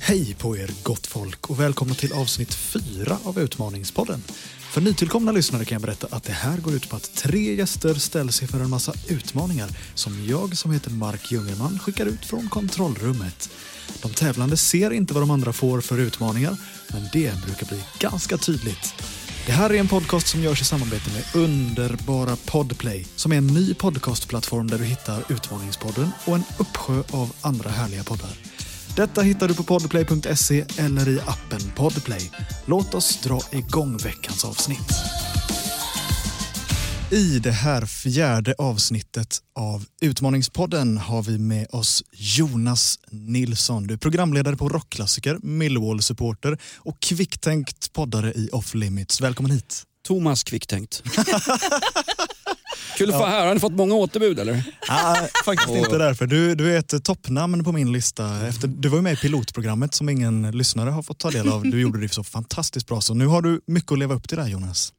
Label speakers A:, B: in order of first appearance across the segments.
A: Hej på er gott folk och välkomna till avsnitt 4 av Utmaningspodden. För nytillkomna lyssnare kan jag berätta att det här går ut på att tre gäster ställs inför en massa utmaningar som jag som heter Mark Jungerman skickar ut från kontrollrummet. De tävlande ser inte vad de andra får för utmaningar, men det brukar bli ganska tydligt. Det här är en podcast som görs i samarbete med underbara Podplay som är en ny podcastplattform där du hittar Utmaningspodden och en uppsjö av andra härliga poddar. Detta hittar du på podplay.se eller i appen Podplay. Låt oss dra igång veckans avsnitt. I det här fjärde avsnittet av Utmaningspodden har vi med oss Jonas Nilsson. Du är programledare på Rockklassiker, Millwall-supporter och kvicktänkt poddare i Off Limits. Välkommen hit.
B: Thomas Kvicktänkt. Kul att få här. Har ni fått många återbud eller?
A: Nej, Ah, faktiskt inte därför. Du, du är ett toppnamn på min lista. Efter, du var ju med i pilotprogrammet som ingen lyssnare har fått ta del av. Du gjorde det så fantastiskt bra så nu har du mycket att leva upp till där Jonas.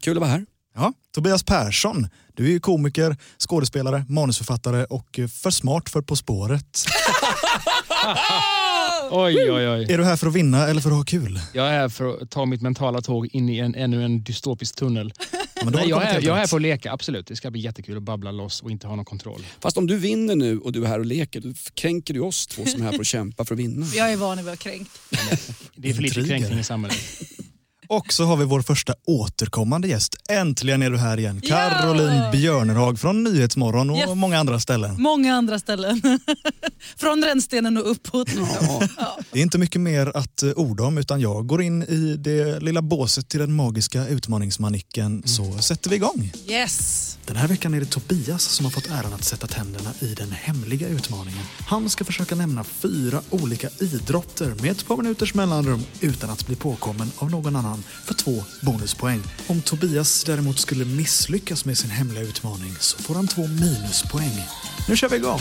B: Kul att vara här.
A: Ja, Tobias Persson. Du är ju komiker, skådespelare, manusförfattare och eh, för smart för På spåret.
C: Oj, oj, oj.
A: Är du här för att vinna eller för att ha kul?
C: Jag är här för att ta mitt mentala tåg in i en, ännu en dystopisk tunnel.
A: Ja, men då har
C: Nej,
A: du
C: jag,
A: kommit
C: är,
A: helt
C: jag är
A: rätt.
C: här för att leka, absolut. Det ska bli jättekul att babbla loss och inte ha någon kontroll.
B: Fast om du vinner nu och du är här och leker, då kränker du oss två som är här för att kämpa för att vinna.
D: Jag är van vid att vara kränkt.
C: Det är för lite
A: Intriger.
C: kränkning i samhället.
A: Och så har vi vår första återkommande gäst. Äntligen är du här igen.
D: Ja!
A: Caroline Björnerhag från Nyhetsmorgon och
D: Yes.
A: många andra ställen.
D: Många andra ställen. Från rännstenen och uppåt.
B: Ja.
A: Det är inte mycket mer att eh, orda om utan jag går in i det lilla båset till den magiska utmaningsmanicken så sätter vi igång.
D: Yes!
A: Mm. Den här veckan är det Tobias som har fått äran att sätta tänderna i den hemliga utmaningen. Han ska försöka nämna fyra olika idrotter med ett par minuters mellanrum utan att bli påkommen av någon annan för två bonuspoäng. Om Tobias däremot skulle misslyckas med sin hemliga utmaning så får han två minuspoäng. Nu kör vi igång!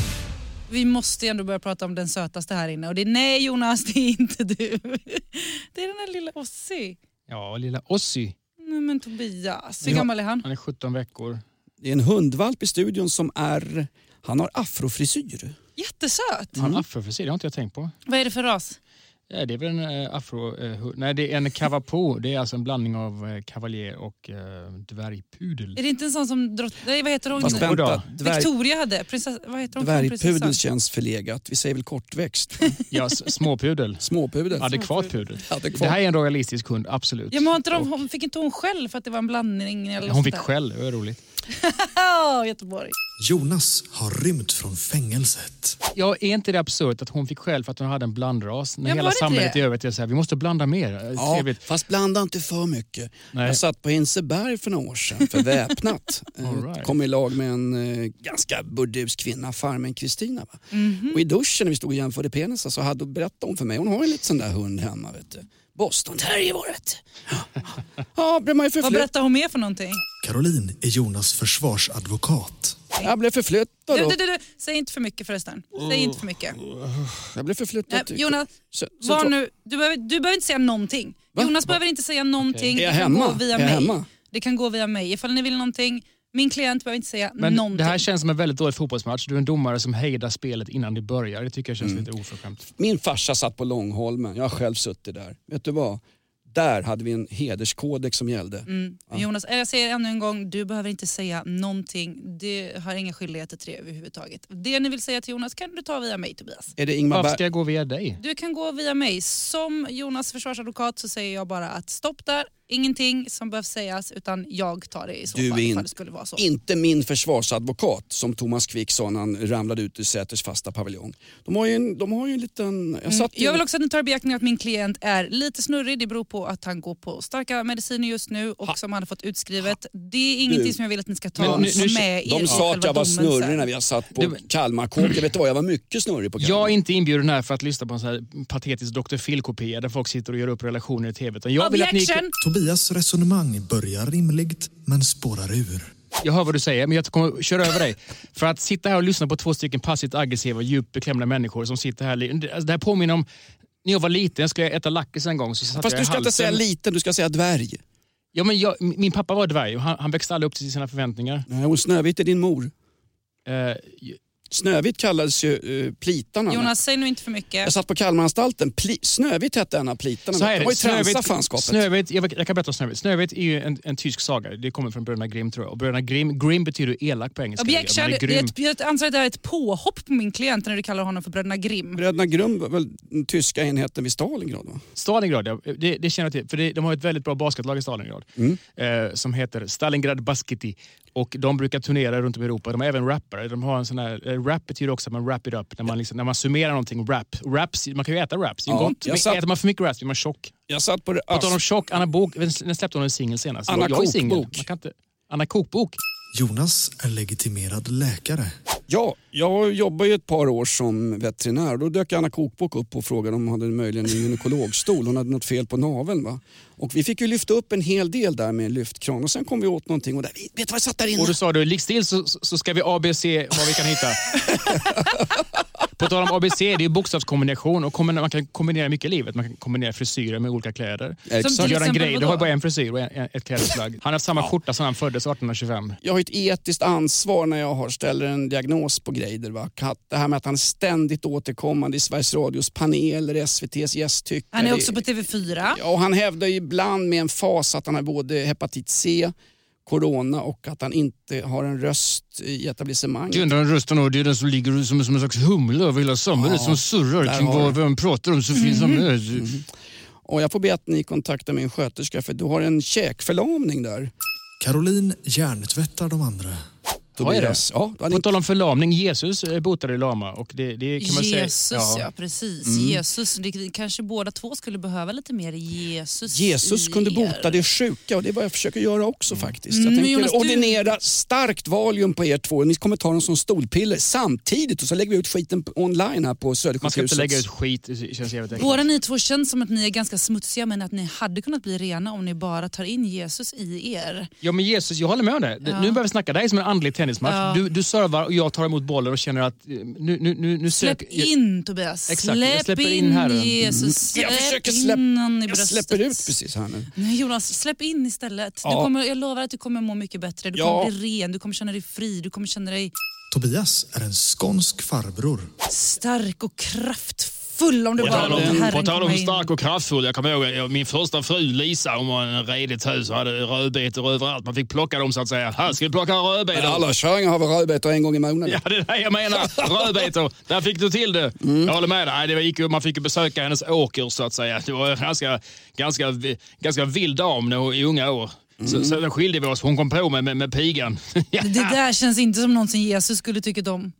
D: Vi måste ju ändå börja prata om den sötaste här inne. Och det är nej Jonas, det är inte du. Det är den där lilla Ossi.
C: Ja, lilla Ossi.
D: Nej men Tobias, hur
A: Ja.
D: gammal är han?
C: Han är 17 veckor.
B: Det är en hundvalp i studion som är... Han har
C: Mm.
B: afrofrisyr.
D: Jättesöt.
A: Mm.
C: Har han afrofrisyr? Det har inte jag tänkt på.
D: Vad är det för ras?
C: Ja, det är väl en eh, afro... Eh, hu- nej, det är en cavapo. Det är alltså en blandning av eh, kavaljer och eh, dvärgpudel.
D: Är det inte en sån som drott... Nej vad heter hon?
B: Fast
C: vänta.
B: vänta, dvärg,
D: Victoria hade. Prinsess... Vad heter hon?
B: dvärgpudeln
D: Prinsessan.
B: känns förlegat. Vi säger väl kortväxt?
C: Ja, s- småpudel.
B: Småpudel?
C: Adekvat pudel. Det här
B: Adekvat.
C: är en royalistisk hund, absolut.
D: Ja, men har inte de,
C: Och
D: hon, fick inte hon skäll för att det var en blandning? Eller
C: hon
D: sånt
C: fick
D: där?
C: skäll, det var roligt.
D: Ja, Göteborg.
A: Jonas har rymt från fängelset.
C: Ja, är inte det absurt att hon fick skäll för att hon hade en blandras? När
D: Ja, var
C: hela
D: det
C: samhället
D: det?
C: i övrigt är så här, vi måste blanda mer. Ja.
B: Ja,
C: Trevligt.
B: fast blanda inte för mycket.
C: Nej.
B: Jag satt på Hinseberg för några år sedan för väpnat. Eh,
C: All right.
B: Kom i lag med en eh, ganska burdus kvinna, farmen Kristina. Va?
D: Mhm.
B: Och i duschen när vi stod och jämförde penisar så hade hon berättat om för mig, hon har en liten sån där hund hemma. Vet du. Boston Terrier var det. vet du. Ja, blev man ju
D: Vad
B: förflytt...
D: berättar hon mer för någonting?
A: Caroline är Jonas försvarsadvokat.
B: Jag blev förflyttad.
D: Du,
B: Och...
D: du, du, du. Säg inte för mycket förresten. Säg inte för mycket.
B: Mm. Jag blev förflyttad.
D: Nej,
B: till-
D: Jonas,
B: Så- så
D: var
B: tro-
D: nu, du, behöver, du behöver inte säga någonting.
B: Va?
D: Jonas behöver inte säga någonting.
B: Är
D: Det
B: jag
D: kan
B: hemma?
D: gå via
B: Är jag
D: mig.
B: hemma?
D: Det kan gå via mig ifall ni vill någonting. Min klient behöver inte säga
C: Men
D: någonting.
C: det här känns som en väldigt dålig fotbollsmatch. Du är en domare som hejdar spelet innan det börjar. Det tycker jag känns
B: Mm.
C: lite oförskämt.
B: Min farsa satt på Långholmen, jag har själv suttit där. Vet du vad? Där hade vi en hederskodex som gällde.
D: Mm. Jonas, jag säger ännu en gång, du behöver inte säga någonting. Det har inga skyldigheter till det överhuvudtaget. Det ni vill säga till Jonas kan du ta via mig Tobias.
B: Är det Ingmar
C: Varför
B: Berg?
C: ska jag gå via dig?
D: Du kan gå via mig. Som Jonas försvarsadvokat så säger jag bara att stopp där. Ingenting som behöver sägas utan jag tar det i så
B: Du
D: fall
B: är
D: ifall
B: in-
D: det skulle vara så.
B: Inte min försvarsadvokat som Thomas Quick sa när han ramlade ut ur Säters fasta paviljong. De har ju en, de har ju en liten... Jag satt ju-
D: Mm, Jag vill också att ni tar i beaktning att min klient är lite snurrig. Det beror på att han går på starka mediciner just nu och som han har fått utskrivet. Det är ingenting
B: Du.
D: som jag vill att ni ska
C: Men
D: ta
C: nu- nu-
D: med er
B: De
D: i
B: sa att
D: själva
B: jag var
D: domen
B: snurrig
D: sen.
B: när vi har satt på
C: Det-
B: Kalmarkåken. Vet du vad, jag var mycket snurrig på
C: Jag är
B: Kalmarkåken.
C: inte inbjuden här för att lyssna på en sån här patetisk Dr. Phil-kopia där folk sitter och gör upp relationer i tv. Utan Jag, vill att ni,
D: Objection!
A: Tobias resonemang börjar rimligt men spårar ur.
C: jag hör vad du säger, men jag kommer att köra över dig. För att sitta här och lyssna på två stycken passivt aggressiva, djupt beklämda människor som sitter här. li- Alltså, Det här påminner om när jag var liten, jag skulle äta lakrits en gång. Så satt
B: Fast
C: jag i
B: du ska inte
C: halsen.
B: säga liten, du ska säga dvärg.
C: Ja, men jag, min pappa var dvärg och han, han växte aldrig upp till sina förväntningar.
B: Nej, och Snövit är din mor.
C: Eh,
B: Snövit kallades ju eh, plitarna.
D: Jonas, säg nu inte för
B: Jag
D: mycket.
B: satt på Kalmaranstalten. Pli, Snövit hette en av plitarna.
C: Så här är
B: det var
C: det.
B: ju transa
C: Snövit,
B: fanskapet.
C: Snövit, jag, jag kan berätta om Snövit. Snövit är ju en, en tysk saga. Det kommer från Bröderna Grimm tror jag. Och Bröderna Grimm, Grimm betyder elak på engelska.
D: Objection,
C: Man är
D: det
C: grym.
D: är ett, jag anser att det här är ett påhopp på min klient när du kallar honom för bröderna Grimm.
B: Bröderna Grum var väl den tyska enheten vid Stalingrad? Va?
C: Stalingrad, ja, det, det känner jag till. För det, de har ett väldigt bra basketlag i Stalingrad.
B: Mm.
C: Eh, som heter Stalingrad Basketi. Och de brukar turnera runt om i Europa. De är även rappare. De har en sån här, eh, rap betyder också att man wrap it up. När man, liksom, när man summerar någonting, rap. Raps, man kan ju äta raps, det är ju
B: Ja,
C: gott.
B: jag
C: Men
B: satt-
C: Äter man för mycket raps blir man tjock.
B: Jag satt på det.
C: På tal om tjock, Anna Bok, när släppte hon en singel senast?
B: Anna
C: jag jag är singel.
B: Kokbok.
C: Man kan inte- Anna Kokbok.
E: Jonas är legitimerad läkare.
B: Ja, jag jobbade ju ett par år som veterinär. Då dök Anna Kokbok upp och frågade om hon hade möjligen en gynekologstol. Hon hade något fel på naveln. Va? Och vi fick ju lyfta upp en hel del där med en lyftkran och sen kom vi åt någonting och där, vet du vad jag satt där inne?
C: Och då sa du, ligg still så, så- så ska vi ABC vad vi kan hitta. På tal om ABC, det är ju bokstavskombination och kombina- man kan kombinera mycket i livet. Man kan kombinera frisyrer med olika kläder.
B: Exakt.
D: Som till
C: Göran
D: exempel
C: Greider
D: vadå?
C: har ju bara en frisyr och en, en, ett klädesplagg. Han har haft samma skjorta sedan han föddes 1825.
B: jag har ett etiskt ansvar när jag har, ställer en diagnos på Greider. Va? Att Det här med att han är ständigt återkommande i Sveriges Radios paneler, SVTs gästtyckare.
D: Han är
B: Det-
D: också på TV4.
B: Ja, och han hävdar ju ibland med en fas att han har både hepatit C, corona och att han inte har en röst i etablissemanget.
C: enda rösten och det är den som ligger som, som en slags humla över hela samhället som surrar
B: där kring har vad- du.
C: vem pratar om så finns han med.
B: Och jag får be att ni kontaktar min sköterska för du har en käkförlamning där.
E: Caroline hjärntvättar de andra.
C: Vad är det?
B: Tobias. Ja, du hade
C: På tal om förlamning, Jesus eh, botade lama och det, det kan man säga...
D: Jesus, ja. precis.
B: Mm.
D: Jesus. Det, kanske båda två skulle behöva lite mer Jesus
B: Jesus
D: i
B: kunde
D: er.
B: bota det sjuka och det är vad jag försöker göra också faktiskt. Jag
D: Mm, men
B: tänker
D: Jonas, du-
B: ordinera starkt Valium på er två. Ni kommer ta dem som stolpiller samtidigt och så lägger vi ut skiten på- online här på
C: Man ska inte
B: Södersjukhuset.
C: lägga ut skit, det känns jävligt äckligt.
D: Båda ni två känns som att ni är ganska smutsiga men att ni hade kunnat bli rena om ni bara tar in Jesus i er.
C: Ja men Jesus, jag håller med om det. Nu börjar vi snacka, det här är som en andlig tennismatch.
D: Ja.
C: Du, du servar och jag tar emot bollen och känner att eh, nu, nu, nu, nu
D: Släpp
C: söker...
D: in Tobias.
C: Exakt, jag
D: släpp
C: släpper in
D: in
C: Herren.
D: Jesus. Släpp
B: Mm. Jag försöker släpp-
D: in honom i
B: Jag
D: bröstet.
B: släpper ut precis här nu.
D: Nej Jonas, släpp in istället. Du
B: Ja.
D: kommer, jag lovar att du kommer må mycket bättre. Du
B: Ja.
D: kommer bli ren, du kommer känna dig fri, du kommer känna dig
E: Tobias är en skånsk farbror.
D: stark och kraftfull om du bara låter Herren
C: på tal om
D: komma in.
C: stark och kraftfull, jag kommer ihåg jag- min första fru Lisa, hon var en redigt hus och hade rödbetor överallt. Man fick plocka dem så att säga. Här ska vi plocka
B: Men
C: rödbetor.
B: alla körningar har väl rödbetor en gång i månaden?
C: Ja, det är det jag menar. Rödbetor, där fick du till det.
D: Mm.
C: Jag håller med dig. Nej, Det gick, ju- man fick ju besöka hennes åker så att säga. Det var en ganska, ganska, vi- ganska vild dam när hon, i unga år. Så, sen skilde vi oss, hon kom på mig med, med pigan. Ja.
D: Mm. Det där känns inte som någonsin Jesus skulle tycka om.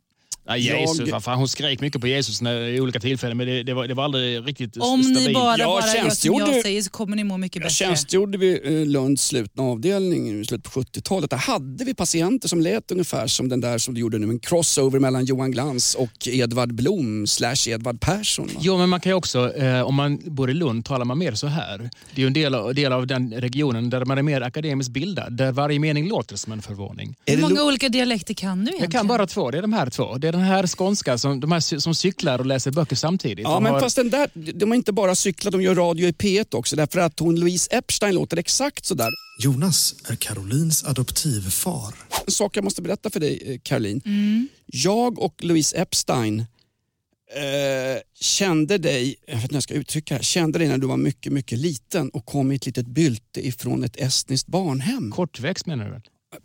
C: Nej, Jesus,
B: Jag-
C: vad fan, hon skrek mycket på Jesus när, i olika tillfällen men det, det, var, det var aldrig riktigt
D: Om
C: stabilt.
D: ni bara,
B: Jag
D: bara gör som
B: tjänstgjorde-
D: jag säger så kommer ni må mycket bättre.
B: Tjänstgjorde vi eh, Lunds slutna avdelning i slutet på 70-talet. Där hade vi patienter som lät ungefär som den där som du gjorde nu. En crossover mellan Johan Glans och Edvard Blom slash Edvard Persson. va?
C: Jo, men man kan ju också, eh, om man bor i Lund, talar man mer så här. Det är ju en del av, del av den regionen där man är mer akademiskt bildad, där varje mening låter som en förvåning.
B: Är
D: Hur
B: det
D: många
B: Lu-
D: olika dialekter kan du egentligen?
C: Jag kan bara två, det är de här två. Det är den här skånska, som, de här cy- som cyklar och läser böcker samtidigt.
B: Ja,
C: de
B: men
C: har,
B: fast den där, de har inte bara cyklat, de gör radio i P1 också. Därför att hon Louise Epstein låter exakt sådär.
E: Jonas är Carolines adoptivfar.
B: En sak jag måste berätta för dig, eh, Caroline. Jag och Louise Epstein eh, kände dig, jag vet inte hur jag ska uttrycka det här, kände dig när du var mycket, mycket liten och kom i ett litet bylte ifrån ett estniskt barnhem.
C: Kortväxt menar du väl?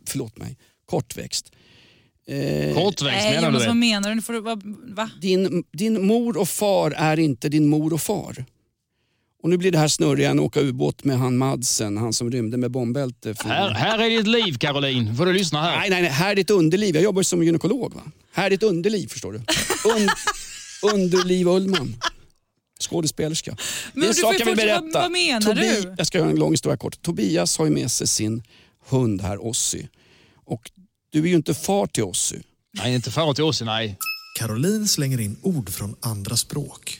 B: förlåt mig, kortväxt. Eh,
C: Kortväxt
D: Nej
C: menar du
D: Jonas, vad
C: väl?
D: menar du? Nu får du bara, va?
B: din, din mor och far är inte din mor och far. Och nu blir det här snurriga än att åka ubåt med han Madsen, han som rymde med bombbälte. från-
C: Här, här är ditt liv, Caroline. Får du lyssna här.
B: Nej, nej, nej, här är ditt underliv. Jag jobbar ju som gynekolog. Va? Här är ditt underliv, förstår du. Und, underliv Ullman. Skådespelerska. det är
D: Men du
B: en sak
D: får
B: jag vill
D: fortsätta-
B: berätta.
D: vad- vad menar du?
B: Jag ska göra en lång historia kort. Tobias har ju med sig sin hund här, Ossi. Och du är ju inte far till Ossi.
C: Nej, inte far till oss, nej.
E: Caroline slänger in ord från andra språk.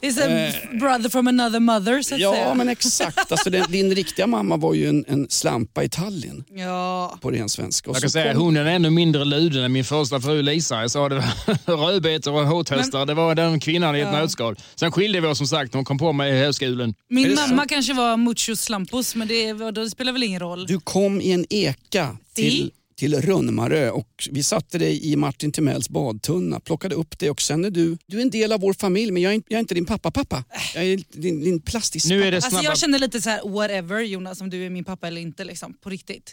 D: It's a
C: Eh.
D: brother from another mother så att
B: Ja,
D: säga.
B: men exakt. Alltså, den, din riktiga mamma var ju en, en slampa i Tallinn
D: Ja.
B: på ren svenska. Och
C: Jag kan
B: så
C: säga
B: kom-
C: hunden är ännu mindre luden än min första fru Lisa. Jag sa det var rödbetor och hårtöstar. Det var den kvinnan i ett nötskal. Sen skilde vi oss som sagt när hon kom på mig i högskolan.
D: Min mamma kanske var mucho slampos men det, var- det spelar väl ingen roll.
B: Du kom i en eka
D: Si.
B: till, till Rönnmarö och vi satte dig i Martin Timells badtunna, plockade upp dig och sen är du, du är en del av vår familj men jag är, inte- jag är inte din pappa-pappa. Jag är din, din plastiska
C: Nu är det
D: Alltså
C: snabba...
D: jag känner lite så här: whatever Jonas om du är min pappa eller inte liksom, på riktigt.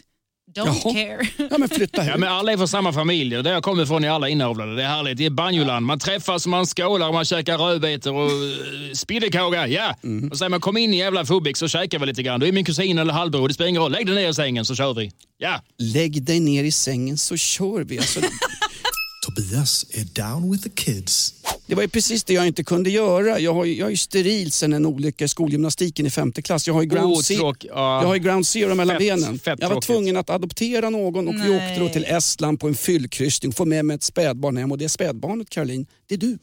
D: Don't
B: Jaha.
D: care.
B: Ja men flytta hit.
C: Ja, men alla är från samma familj och där jag kommer ifrån är alla inavlade. Det är härligt. Det är banjoland. Man träffas, man skålar, man käkar rödbetor och eh, spillekaka. Ja!
B: Mm.
C: Och säger man kom in i jävla Fubik så käkar vi lite grann. Du är min kusin eller halvbror. Det spelar ingen roll. Lägg dig ner i sängen så kör vi. Ja!
B: Lägg dig ner i sängen så kör vi. Alltså,
E: Tobias är down with the kids.
B: det var ju precis det jag inte kunde göra. Jag, har, ju- jag är ju steril sen en olycka i skolgymnastiken i femte klass. Jag har ju ground,
C: Oh,
B: ze-
C: tråk- ja.
B: jag har ju ground zero mellan
C: Fett-
B: benen.
C: fett
B: jag var
C: tråkigt.
B: tvungen att adoptera någon och vi
D: Nej.
B: åkte då till Estland på en fyllkryssning och få med mig ett spädbarn hem och det spädbarnet Caroline, det är du.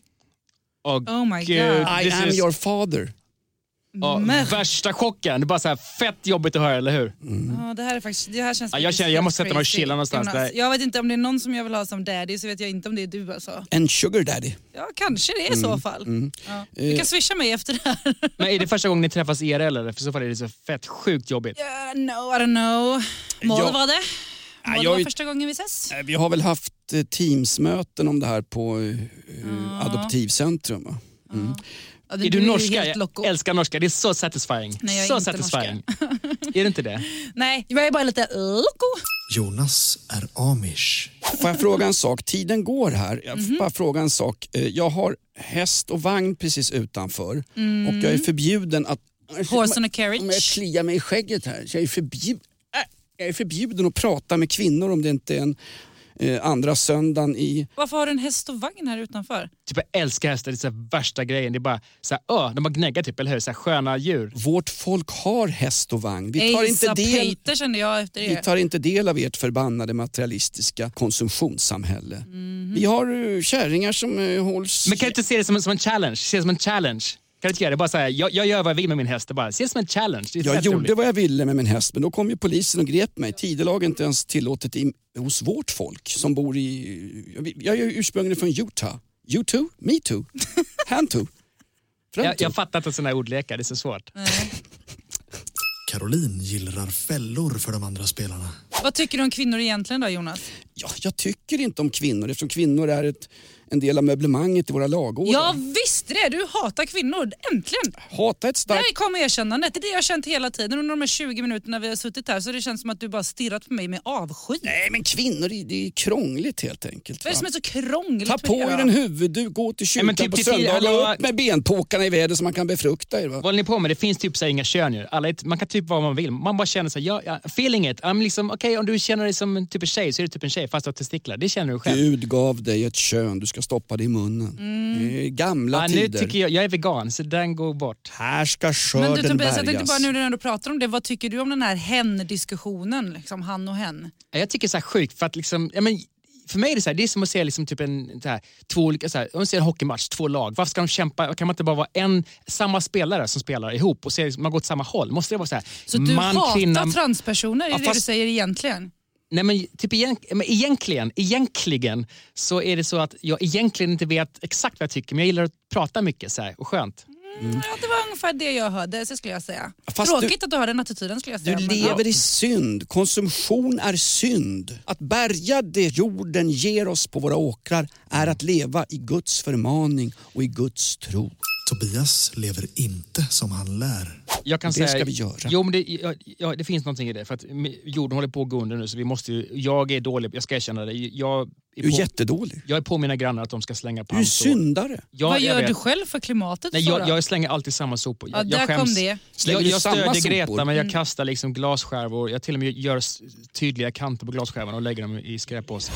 D: Oh my
C: gud,
D: God.
B: I
C: this
B: am
C: is-
B: your father.
C: ja,
D: Men-
C: Värsta chocken. Det är bara så här fett jobbigt att höra, eller hur?
D: Ja, det här är faktiskt, det här känns
C: Mm. Ja, jag
D: faktiskt
C: känner- jag
D: helt
C: måste sätta mig och
D: crazy.
C: chilla någonstans
D: Jonas,
C: där.
D: Jag vet inte om det är någon som jag vill ha som daddy så vet jag inte om det är du alltså.
B: En sugar daddy.
D: Ja kanske det är i så
C: Mm.
D: fall. Ja. Du
C: Eh.
D: kan swisha mig efter det här.
C: Men är det första gången ni träffas i RL eller? För i så fall är det så fett sjukt jobbigt.
D: Yeah, no, I don't know. Moll
B: Ja.
D: var det. Moll
B: jag
D: var
B: är-
D: första gången vi ses.
B: Eh, Vi har väl haft eh, Teamsmöten om det här på eh, Adoptivcentrum. Va?
D: Ja,
C: Är du
D: ju
C: norska?
D: helt loco.
C: Jag älskar norska. Det är så satisfying.
D: Nej, jag är
C: så
D: inte
C: satisfying. är det inte det?
D: Nej, jag är bara lite loco.
E: Jonas är amish.
B: Får jag fråga en sak? Tiden går här. Jag får
D: Mhm.
B: bara fråga en sak. Eh, Jag har häst och vagn precis utanför och jag är förbjuden att...
D: Mm. Horse and a
B: Om jag
D: carriage.
B: kliar mig i skägget här. Så jag, är förbjud... Äh, jag är förbjuden att prata med kvinnor om det inte är en eh, andra söndagen i...
D: Varför har du en häst och vagn här utanför?
C: Typ jag älskar hästar, det är så här värsta grejen. Det är bara så här, ö, de bara gnäggar typ, eller hur? Så här, sköna djur.
B: Vårt folk har häst och vagn. Vi tar, inte
D: Asa
B: del...
D: Peter kände jag efter
B: Vi
D: det.
B: tar inte del av ert förbannade materialistiska konsumtionssamhälle.
D: Mhm.
B: Vi har uh, kärringar som eh, hålls...
C: Men kan du inte se det som, en- som en challenge? Se det som en challenge. Kan du inte göra det? Bara så här, jag, jag gör vad jag vill med min häst. Det Bara, se det som en challenge. Det är
B: Jag
C: fett
B: gjorde
C: roligt.
B: vad jag ville med min häst men då kom ju polisen och grep mig. Tidelag är inte ens tillåtet i, hos vårt folk som bor i... jag vet- Jag är ju ursprungligen från Utah. You too, me too, han too. Fram
C: Jag,
B: too.
C: jag fattar inte sådana här ordlekar, det är så svårt.
E: Caroline gillrar fällor för de andra spelarna.
D: Vad tycker du om kvinnor egentligen då Jonas?
B: Ja, jag tycker inte om kvinnor eftersom kvinnor är ett, en del av möblemanget i våra lagårdar.
D: Jag visste det! Du hatar kvinnor. Äntligen!
B: Hata ett starkt...
D: Där kom erkännandet. Det är det jag har känt hela tiden under de här 20 minuterna vi har suttit här så har det känns som att du bara stirrat på mig med avsky.
B: Nej men kvinnor, det är- det är krångligt helt enkelt.
D: Vad är det
B: va?
D: som är så krångligt
B: Ta
D: med
B: på
D: det?
B: er en huvudduk, gå till kyrkan
C: men typ
B: på
C: till tio-
B: söndagar och
C: hallå?
B: upp med benpåkarna i väder så man kan befrukta er. Va?
C: Vad håller ni på med? Det finns typ så här, inga kön ju. Alla är, Man kan typ vara vad man vill. Man bara känner sig, ja, ja, feeling it. I'm liksom, okej, om du känner dig som en typ en tjej så är du typ en tjej fast du har testiklar. Det känner du själv.
B: Gud gav dig ett kön, du ska stoppa det i munnen.
D: Mm.
B: Det är gamla
C: ja, nu
B: tider.
C: tycker jag, jag är vegan så den går bort.
B: Här ska skörden
D: Men du Tobias, jag tänkte
B: bärgas.
D: bara nu när du ändå pratar om det, vad tycker du om den här hen-diskussionen? Liksom han och hen.
C: Ja, Jag tycker det är så här sjukt för att liksom, ja, men för mig är det, så här, det är som att se liksom typ en, så här, två olika, så här, om man ser en hockeymatch, två lag. Varför ska de kämpa? Kan man inte bara vara en, samma spelare som spelar ihop och se, liksom, man går åt samma håll? Måste det vara så här,
D: Så du
C: man,
D: hatar
C: kvinna...
D: transpersoner, är
C: Ja,
D: det det du
C: fast- Mm.
D: säger egentligen?
C: Nej, men, typ igen, men egentligen, egentligen så är det så att jag egentligen inte vet exakt vad jag tycker men jag gillar att prata mycket så här, och skönt.
D: Mm, Ja, det var ungefär det jag hörde, så skulle jag säga.
B: Fast
D: Tråkigt att du har den attityden skulle jag
B: Du
D: säga. men-
B: lever i synd. Konsumtion är synd. Att bärga det jorden ger oss på våra åkrar är att leva i Guds förmaning och i Guds tro.
E: Tobias lever inte som han lär.
C: Jag kan
B: Det
C: säga,
B: ska vi göra.
C: Jo, men det, ja, ja, det finns någonting i det. För att mm, jorden håller på att gå under nu så vi måste ju, jag är dålig, jag ska erkänna det. Jag är
B: Du är
C: på,
B: jättedålig.
C: jag är på mina grannar att de ska slänga
B: Du är
C: pant. och-
B: syndare.
C: Ja,
D: vad
C: jag
D: gör
C: vet.
D: du själv för klimatet?
C: Nej,
D: Sara?
C: jag, jag slänger alltid samma sopor.
D: ja,
C: Jag,
D: där
C: jag skäms.
D: kom det. Mm.
B: Slänger
C: Jag,
B: du
C: jag
B: samma
C: stödjer
B: sopor?
C: Greta men jag kastar liksom glasskärvor. Jag till och med gör s- tydliga kanter på glasskärvorna och lägger dem i skräppåsen.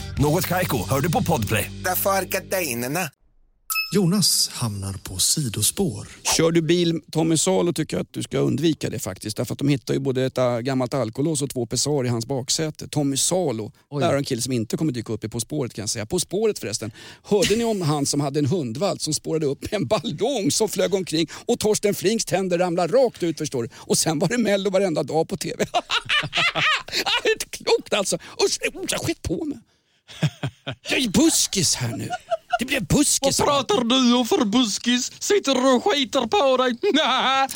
F: Något Kaiko, hör du på Podplay.
G: Därför arkadeinerna.
E: Jonas hamnar på sidospår.
B: Kör du bil Tommy Salo tycker jag att du ska undvika det faktiskt. Därför att de hittar ju både ett äh, gammalt alkolås och två pessar i hans baksäte. Tommy Salo, där är en kille som inte kommer dyka upp i På spåret kan jag säga. På spåret förresten, hörde ni om han som hade en hundvalp som spårade upp en ballong som flög omkring och Torsten Flinks tänder ramlade rakt ut förstår du. Och sen var det Mello varenda dag på TV. det är inte klokt alltså! Usch, oh, jag skett på mig. Jag är buskis här nu. Det blev buskis. av allt.
C: du om för buskis? Sitter och skiter på dig? Nej.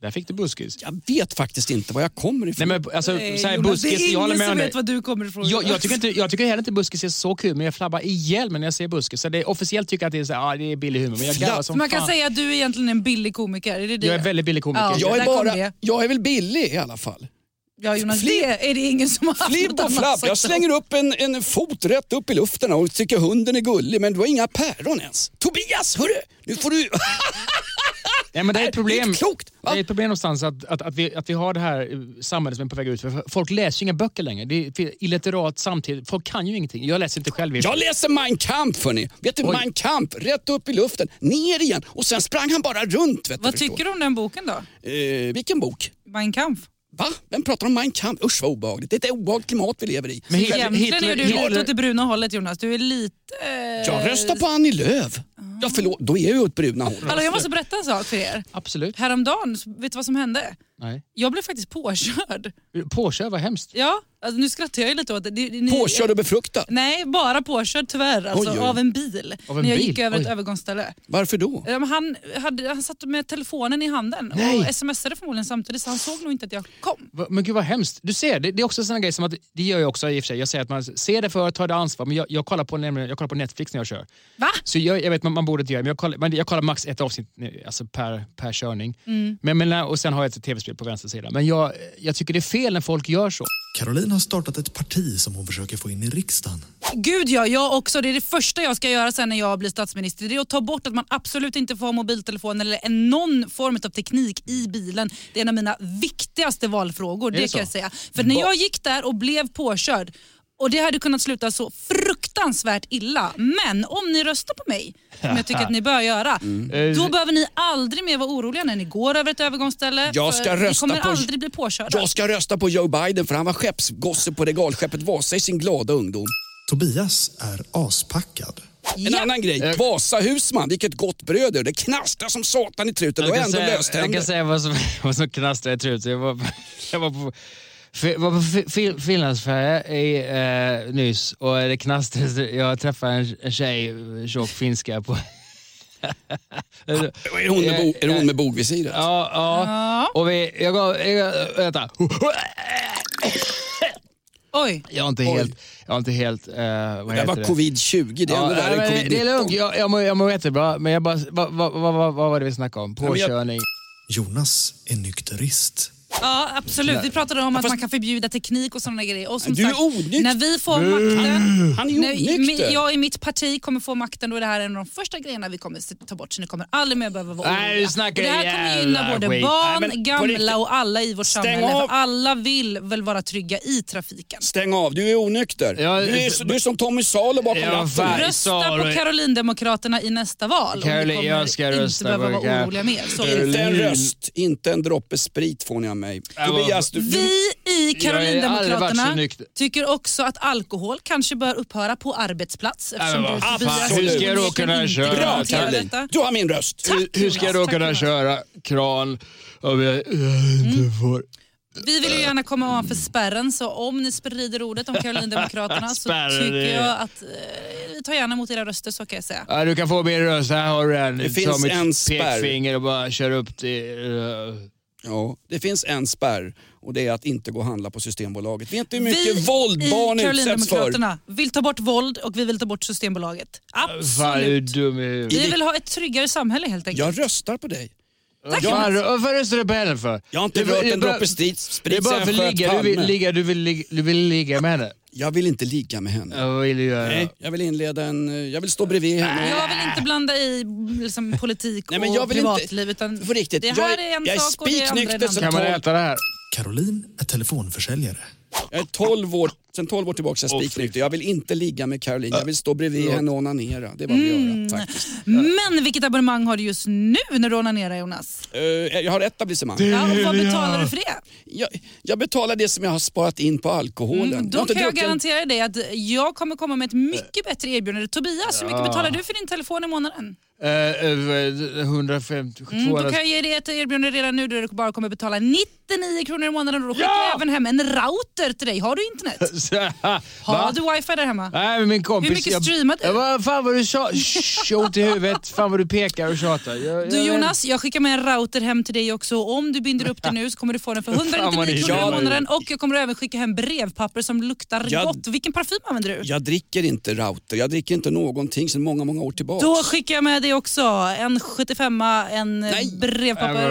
C: Där fick du buskis.
B: Jag vet faktiskt inte var jag kommer ifrån.
C: Nej men alltså,
D: Nej,
C: så här,
D: Eh, Jonas,
C: buskis,
D: det är
C: jag håller
D: ingen
C: med
D: som
C: om dig.
D: vet var du kommer ifrån.
C: Jag, jag, tycker inte, jag tycker heller inte buskis är så kul, men jag flabbar ihjäl mig när jag ser buskis. Så det, är- officiellt tycker jag att det är, så här, ah, det är billig humor, men jag garvar
B: Flapp.
C: som
D: Man kan
C: fan.
D: säga att du är egentligen en billig komiker. Är det det?
C: Jag är väldigt billig komiker.
D: Ja.
C: Jag,
B: jag,
D: där
B: är
D: kom
B: bara,
D: det.
B: jag är väl billig i alla fall.
D: Ja, Jonas,
B: Flipp.
D: det är det ingen som har haft något
B: Flipp och
D: annat
B: flapp.
D: sagt om.
B: Jag slänger upp en, en fot rätt upp i luften och tycker hunden är gullig men du har inga päron ens. Tobias, hörru! Nu får du...
C: nej, men det är ett
B: Det är
C: problem.
B: inte klokt!
C: Det
B: Va?
C: är ett problem någonstans att, att, att, vi, att vi har det här eh, samhället som är på väg ut. För folk läser ju inga böcker längre. Det är illiterat samtidigt. Folk kan ju ingenting. Jag läser inte själv. i-
B: Jag läser Mein Kampf hörni. Vet du,
C: Oj.
B: Mein Kampf, rätt upp i luften, ner igen och sen sprang han bara runt. Vet
D: Vad
B: du, förstår.
D: tycker du om den boken då?
B: Eh, vilken bok?
D: Mein Kampf?
B: Va? Vem pratar om Mein Kampf? Usch vad obehagligt. Det är ett obehagligt klimat vi lever i.
C: Men Hitler-
D: Egentligen är du
C: Hitler-
D: lite åt det bruna hållet Jonas. Du är lite... eh,
B: Jag röstar på Annie Lööf. Ja förlåt, då är jag ju åt bruna håret.
D: Hallå, jag måste berätta en sak för er.
C: Absolut.
D: Häromdagen, vet du vad som hände?
C: Nej.
D: Jag blev faktiskt påkörd.
C: Påkör, vad hemskt.
D: Ja, alltså, nu skrattar jag ju lite åt det. det. det- ni-
B: Påkörd och befruktad.
D: Nej, bara påkörd tyvärr. Alltså,
B: Oj, oj.
D: Av en bil.
C: Av en
D: när jag
C: bil?
D: gick över ett
C: Oj.
D: övergångsställe.
B: Varför då?
D: Eh, men Han, hade, han satt med telefonen i handen och smsade förmodligen samtidigt så han såg nog inte att jag kom.
C: Va- Men gud vad hemskt. Du ser, det, det är också såna grejer som att, det gör jag också i och för sig. Jag säger att man ser det för, tar det ansvar. Men jag, jag, kollar, på, nämligen- jag kollar på Netflix när jag kör.
D: Va?
C: Så jag, jag vet, man, man borde inte göra det, men jag kollar, men jag kollar max ett avsnitt nu, alltså per, per körning.
B: Mm.
C: Men, men, och sen har jag ett tv-spel på vänster sida. Men jag, jag tycker det är fel när folk gör så.
E: Caroline har startat ett parti som hon försöker få in i riksdagen.
D: Gud ja, jag också. Det är det första jag ska göra sen när jag blir statsminister. Det är att ta bort att man absolut inte får ha mobiltelefon eller en- någon form av teknik i bilen. Det är en av mina viktigaste valfrågor, det,
C: det så?
D: kan jag säga. För när jag gick där och blev påkörd och det hade kunnat sluta så fruktansvärt illa. Men om ni röstar på mig, som jag tycker att ni bör göra,
B: Mm. Eh,
D: då behöver ni aldrig mer vara oroliga när ni går över ett övergångsställe.
B: Jag ska
D: för ni
B: rösta
D: kommer
B: på-
D: aldrig bli påkörda.
B: Jag ska rösta på Joe Biden för han var skeppsgosse på regalskeppet Vasa i sin glada ungdom.
E: Tobias är aspackad.
B: En annan
C: Eh.
B: grej, Vasa Husman, vilket gott bröd det är. Det knastrar som satan i truten och
C: Jag kan
B: ändå
C: säga- Jag
B: löständer.
C: kan säga vad som, vad som knastrar i truten. Jag var, jag var på, fi- var på fi- fi- Finlandsfärja i, eh, nyss och det knastrade. Jag träffade en, en tjej, tjock finska. På,
B: Är hon med, bo, är hon med bogvisiret?
C: Eh, ja, ja. Och vi, jag gav... Jag, vänta.
D: Oj,
C: Jag är inte helt... Jag är inte helt eh, vad
B: det
C: heter
B: var covid-20, det är
C: Ja,
B: ändå
C: nej,
B: värre
C: men
B: än
C: det- det är
B: covid-19.
C: lugnt, jag, jag, mår, jag mår jättebra. Men jag bara, vad, vad, vad, vad, vad var det vi snackade om?
B: men jag-
C: Påkörning.
E: Jonas är nykterist.
D: Ja, absolut. Vi pratade om att
B: fast-
D: man kan förbjuda teknik och sådana grejer. Och som
B: Du är
D: sagt,
B: onykter.
D: när vi får makten...
B: Han är ju
D: När
B: onykter.
D: mi- jag i mitt parti kommer få makten då är det här en av de första grejerna vi kommer se- ta bort så ni kommer aldrig mer behöva vara
C: Nej, du snackar
D: Och det här kommer
C: jävla
D: gynna både
C: skit.
B: Nej,
D: barn,
B: men på riktigt.
D: gamla och alla i vårt
B: Stäng
D: samhälle.
B: av.
D: För alla vill väl vara trygga i trafiken.
B: Stäng av, du är onykter.
C: Ja,
B: du, är, du är som Tommy Salo bakom
C: Ja, fan.
B: ratten.
C: Nej,
D: Rösta
C: sorry.
D: på Karolindemokraterna i nästa val. och
C: Caroline,
D: ni kommer
C: jag ska rösta
D: inte behöva
C: på Kar-
D: vara oroliga mer. Så.
B: Inte en röst, inte en droppe sprit får ni av mig.
C: Ja,
B: Tobias, du,
D: Vi i
C: Jag har aldrig varit så
D: Karolindemokraterna
C: nykter.
D: tycker också att alkohol kanske bör upphöra på arbetsplats. eftersom
C: Nej, men
D: du,
C: vad
D: Tobias,
B: Äh, fan, hur ska
C: jag då
D: onekligen
C: kunna
D: inte
C: köra?
B: Bra
D: garanterar
B: Caroline,
D: detta.
B: du har min röst.
D: Tack,
C: Hur ska jag
D: Jonas,
C: då
D: tack,
C: kunna
D: Jonas.
C: köra kran om jag eh, inte
B: Mm.
C: får...
D: Vi vill ju gärna komma ovanför spärren så om ni sprider ordet om Karolindemokraterna så
C: Spärren
D: tycker
C: är-
D: jag att eh, vi tar gärna emot era röster så kan jag säga.
C: Ja, du kan få min röst, här har du en.
B: Det
C: Ta
B: finns
C: mitt
B: en spärr.
C: pekfinger och bara kör upp till... eh,
B: Ja, det finns en spärr och det är att inte gå och handla på Systembolaget. Vet du hur
D: Vi
B: mycket våld barn
D: i
B: utsätts för?
D: Karolindemokraterna vill ta bort våld och vi vill ta bort Systembolaget.
C: Fan, du är
D: Absolut.
C: dum i huvudet.
D: Vi vill ha ett tryggare samhälle helt enkelt.
B: Jag röstar på dig.
D: Tack,
C: Fan,
D: Jonas.
C: Varför röstar du på henne för?
B: Jag har inte
C: Det är
B: rört en
C: bara-
B: droppe sprit,
C: Det är
B: sprit
C: bara
B: sen
C: för
B: jag
C: att
B: sköt
C: ligga. Du vill
B: Palme.
C: ligga, du vill ligga, du vill ligga med henne.
B: Jag vill inte ligga med henne.
C: Ja, Vad vill du göra?
B: Nej, jag vill inleda en... eh, Jag vill stå bredvid henne.
D: Jag vill inte blanda i liksom, politik
B: Nej, men jag
D: och
B: vill
D: privatliv.
B: inte,
D: Utan
B: för riktigt,
D: det här
B: jag,
D: är en
B: jag är
D: sak och det andra är en
B: spiknykter
D: annan.
B: sen
C: Kan man
B: tolv.
C: äta det här?
E: Caroline är telefonförsäljare.
B: Jag är 12 år, sen 12 år tillbaka är jag spiknykter. Jag vill inte ligga med Caroline. Jag vill stå bredvid henne och onanera. Det är vad vi
D: Mm.
B: gör faktiskt.
D: Men vilket abonnemang har du just nu när du onanerar Jonas?
B: Eh, jag har etablissemang.
D: Ja, och vad betalar du för det?
B: Jag, jag betalar det som jag har sparat in på alkoholen. jag har
D: Mm, Då
B: inte
D: kan jag
B: druckit- Äh.
D: garantera dig att jag kommer komma med ett mycket bättre erbjudande. Tobias, hur mycket betalar du för din telefon i månaden?
C: Eh, eh, 150,
D: Mm, då
C: 200.
D: kan jag ge dig ett erbjudande redan nu där du bara kommer betala 99 kronor i månaden och då skickar jag även hem en router till dig. Har du internet? Har
C: Va?
D: du wifi där hemma?
C: Nej, men min kompis...
D: Hur mycket streamar du?
C: Jag, vad fan vad du tjatar. Tjot i huvudet. Fan vad du pekar och tjatar. Jag,
D: Du
C: jag-
D: Jonas, jag skickar med en router hem till dig också. Och Om du binder upp den nu så kommer du få den för 199 kronor i
C: Ja,
D: månaden och jag kommer även skicka hem brevpapper som luktar
B: Ja.
D: gott. Vilken parfym använder du?
B: Jag dricker inte router. Jag dricker inte någonting sedan många, många år tillbaka.
D: Då skickar jag med dig också en 75 en
B: Nej.
D: brevpapper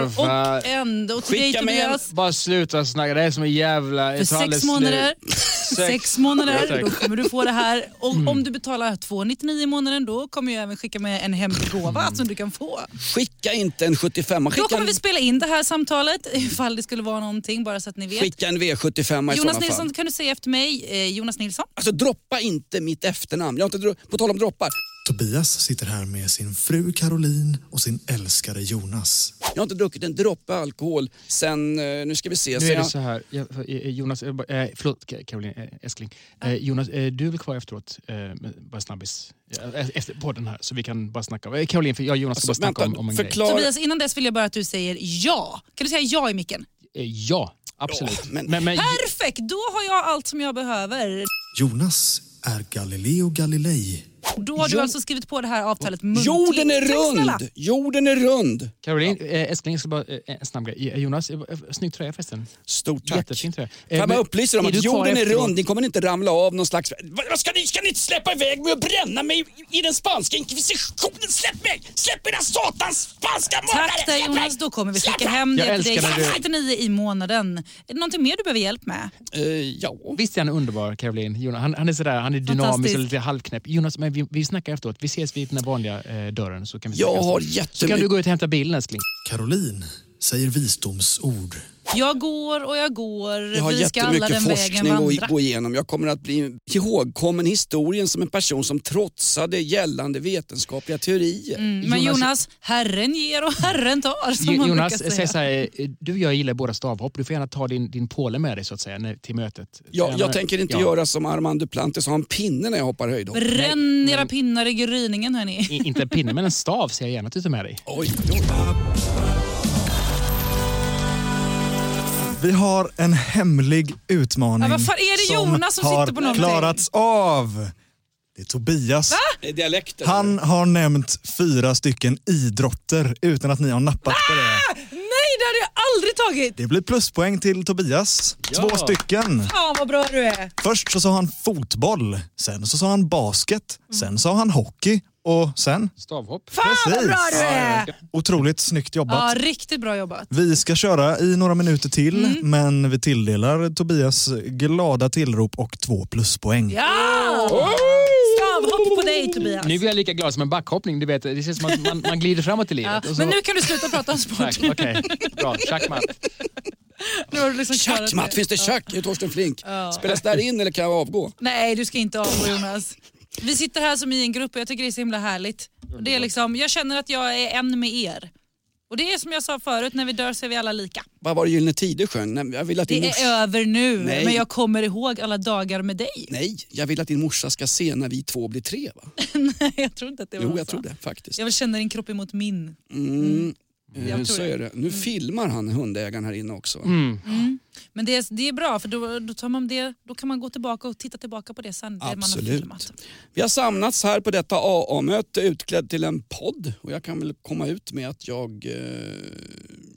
C: Äh, vad fan.
D: och en och till dig
B: Skicka med en-
D: Tobias.
C: Bara sluta snacka. Det här är som en jävla...
D: För
C: ett alldeles
D: sex
C: slut.
D: månader,
C: Sex.
D: sex
C: Ja, tack.
D: månader, då kommer du få det här. Och
B: Mm.
D: om du betalar 299 i månaden då kommer jag även skicka med en hemlig gåva som du kan få.
B: Skicka inte en 75
D: Då
B: Mm. skicka,
D: kommer
B: en,
D: vi spela in det här samtalet ifall det skulle vara någonting bara så att ni vet.
B: skicka en V75 i sådana
D: Jonas
B: fall.
D: Nilsson kan du säga efter mig, eh, Jonas Nilsson.
B: Alltså droppa inte mitt efternamn. Jag har inte, dro- på tal om droppar.
E: Tobias sitter här med sin fru Caroline och sin älskare Jonas.
B: Jag har inte druckit en droppe alkohol sen, eh, nu ska vi se.
C: Nu
B: sen
C: är det
B: jag,
C: så här, jag, eh, Jonas, eh, bara- eh, förlåt Ka- Caroline, eh, älskling. Eh, Jonas, eh, du är väl kvar efteråt, eh, med- bara snabbis, eh, eh, efter podden här, så vi kan bara snacka. om- Eh, Caroline, för jag och Jonas ska bara snacka
B: Alltså, vänta,
C: om, om en
B: förklara.
D: Tobias, innan dess vill jag bara att du säger ja. Kan du säga ja i micken?
C: grej. Eh, ja, absolut.
B: Ja, men-
D: Perfekt, då har jag allt som jag behöver.
E: Jonas är Galileo Galilei.
D: Då har
B: Jo-
D: du alltså skrivit på det här avtalet muntligt.
B: Jorden är
D: Tack snälla.
B: rund! Jorden är rund!
C: Caroline, eh, älskling, jag ska bara, eh, en snabb grej. Eh, Jonas, eh, eh, snygg tröja förresten.
B: Stort tack.
C: Jättefin tröja. Eh,
B: Får jag bara
C: men-
B: upplysa dem
C: är
B: att
C: du kvar
B: jorden är
C: efteråt?
B: rund, ni kommer inte ramla av någon slags... Vad vad ska ni, ska ni inte släppa iväg mig och bränna mig i- i den spanska inkvisitionen? Släpp mig! Släpp mina satans spanska mördare!
D: Tack där
B: Släpp mig!
D: Jonas, då kommer vi
B: Släpp
D: skicka
B: mig!
D: hem
C: Jag
D: det till dig.
C: älskar när du-
D: 69 i månaden. Är det någonting mer du behöver hjälp med?
B: Eh, ja.
C: Visst är han underbar, Caroline? Jonas, han, han är sådär, han är dynamisk
D: Fantastisk.
C: och lite halvknäpp. Jonas, men vi, vi snackar efteråt. Vi ses vid den här vanliga eh, dörren så kan vi
B: Jag
C: snacka.
B: har
C: Så kan du
B: jättemycket...
C: gå ut och hämta bilen, älskling.
E: Caroline säger visdomsord.
D: Jag går och jag går.
B: Jag har
D: vi ska alla den
B: jättemycket
D: vägen
B: forskning
D: vandra.
B: att gå igenom. Jag kommer att bli ihågkommen i historien som en person som trotsade gällande vetenskapliga teorier.
D: Mm, Men
C: Jonas-
D: Jonas, Herren ger och Herren tar som man
C: Jonas säger
D: brukar säga.
C: så här, eh, du jag gillar båda stavhopp. Du får gärna ta din, din påle med dig så att säga när, till mötet.
B: Jag,
C: Träna-
B: jag tänker inte
C: Ja.
B: göra som Armand Duplantis och ha en pinne när jag hoppar höjdhopp.
D: Bränn era pinnar i gryningen hörni.
C: I, inte en pinne, men en stav ser jag gärna att du tar med dig.
B: Oj, oj.
A: Vi har en hemlig utmaning
D: Ja, vad fan är det Jonas som
A: har
D: sitter på någonting?
A: klarats av. Det är Tobias.
B: Det är dialekter.
A: Han har nämnt fyra stycken idrotter utan att ni har nappat på det.
D: Nej, det hade jag aldrig tagit!
A: Det blir pluspoäng till Tobias. Två stycken.
D: Fan vad bra du är.
A: Först så sa han fotboll, sen så sa han basket, sen sa han hockey och sen...
C: Stavhopp.
D: Fan Mm. vad bra
A: Precis.
D: du är!
A: Otroligt snyggt jobbat.
D: Ja, riktigt bra jobbat.
A: Vi ska köra i några minuter till,
D: Mm.
A: men vi tilldelar Tobias glada tillrop och två pluspoäng.
D: Ja! Stavhopp på dig Tobias.
C: Nu är jag lika glad som en backhoppning. Du vet, det känns som att man, man glider framåt i
D: Ja,
C: livet. Och så-
D: men nu kan du sluta prata om sport.
C: Tack, okej. Bra, schackmatt.
D: Nu har du liksom klarat
B: Schackmatt, finns det schack? Det är Torsten Flink. Spelas det här in eller kan jag avgå?
D: Nej, du ska inte avgå Jonas. Vi sitter här som i en grupp och jag tycker det är så himla härligt. Och det är liksom, jag känner att jag är en med er. Och det är som jag sa förut, när vi dör så är vi alla lika.
B: Vad var det Gyllene Tider sjöng? Nej, Jag vill att din
D: Det
B: morsa...
D: är över nu,
B: Nej.
D: men jag kommer ihåg alla dagar med dig.
B: Nej, jag vill att din morsa ska se när vi två blir tre. Va?
D: Nej, jag tror inte att det var
B: Jo,
D: så.
B: jag tror det faktiskt.
D: Jag vill känna din kropp emot min.
B: Mm. eh,
D: tror
B: Så
D: det. Mm.
B: är det. Nu filmar han hundägaren här inne också.
D: Men det är, det är bra för då, då, tar man det, då kan man gå tillbaka och titta tillbaka på det sen. det man har
B: Absolut.
D: filmat.
B: Vi har samlats här på detta AA-möte utklädd till en podd och jag kan väl komma ut med att jag... Eh,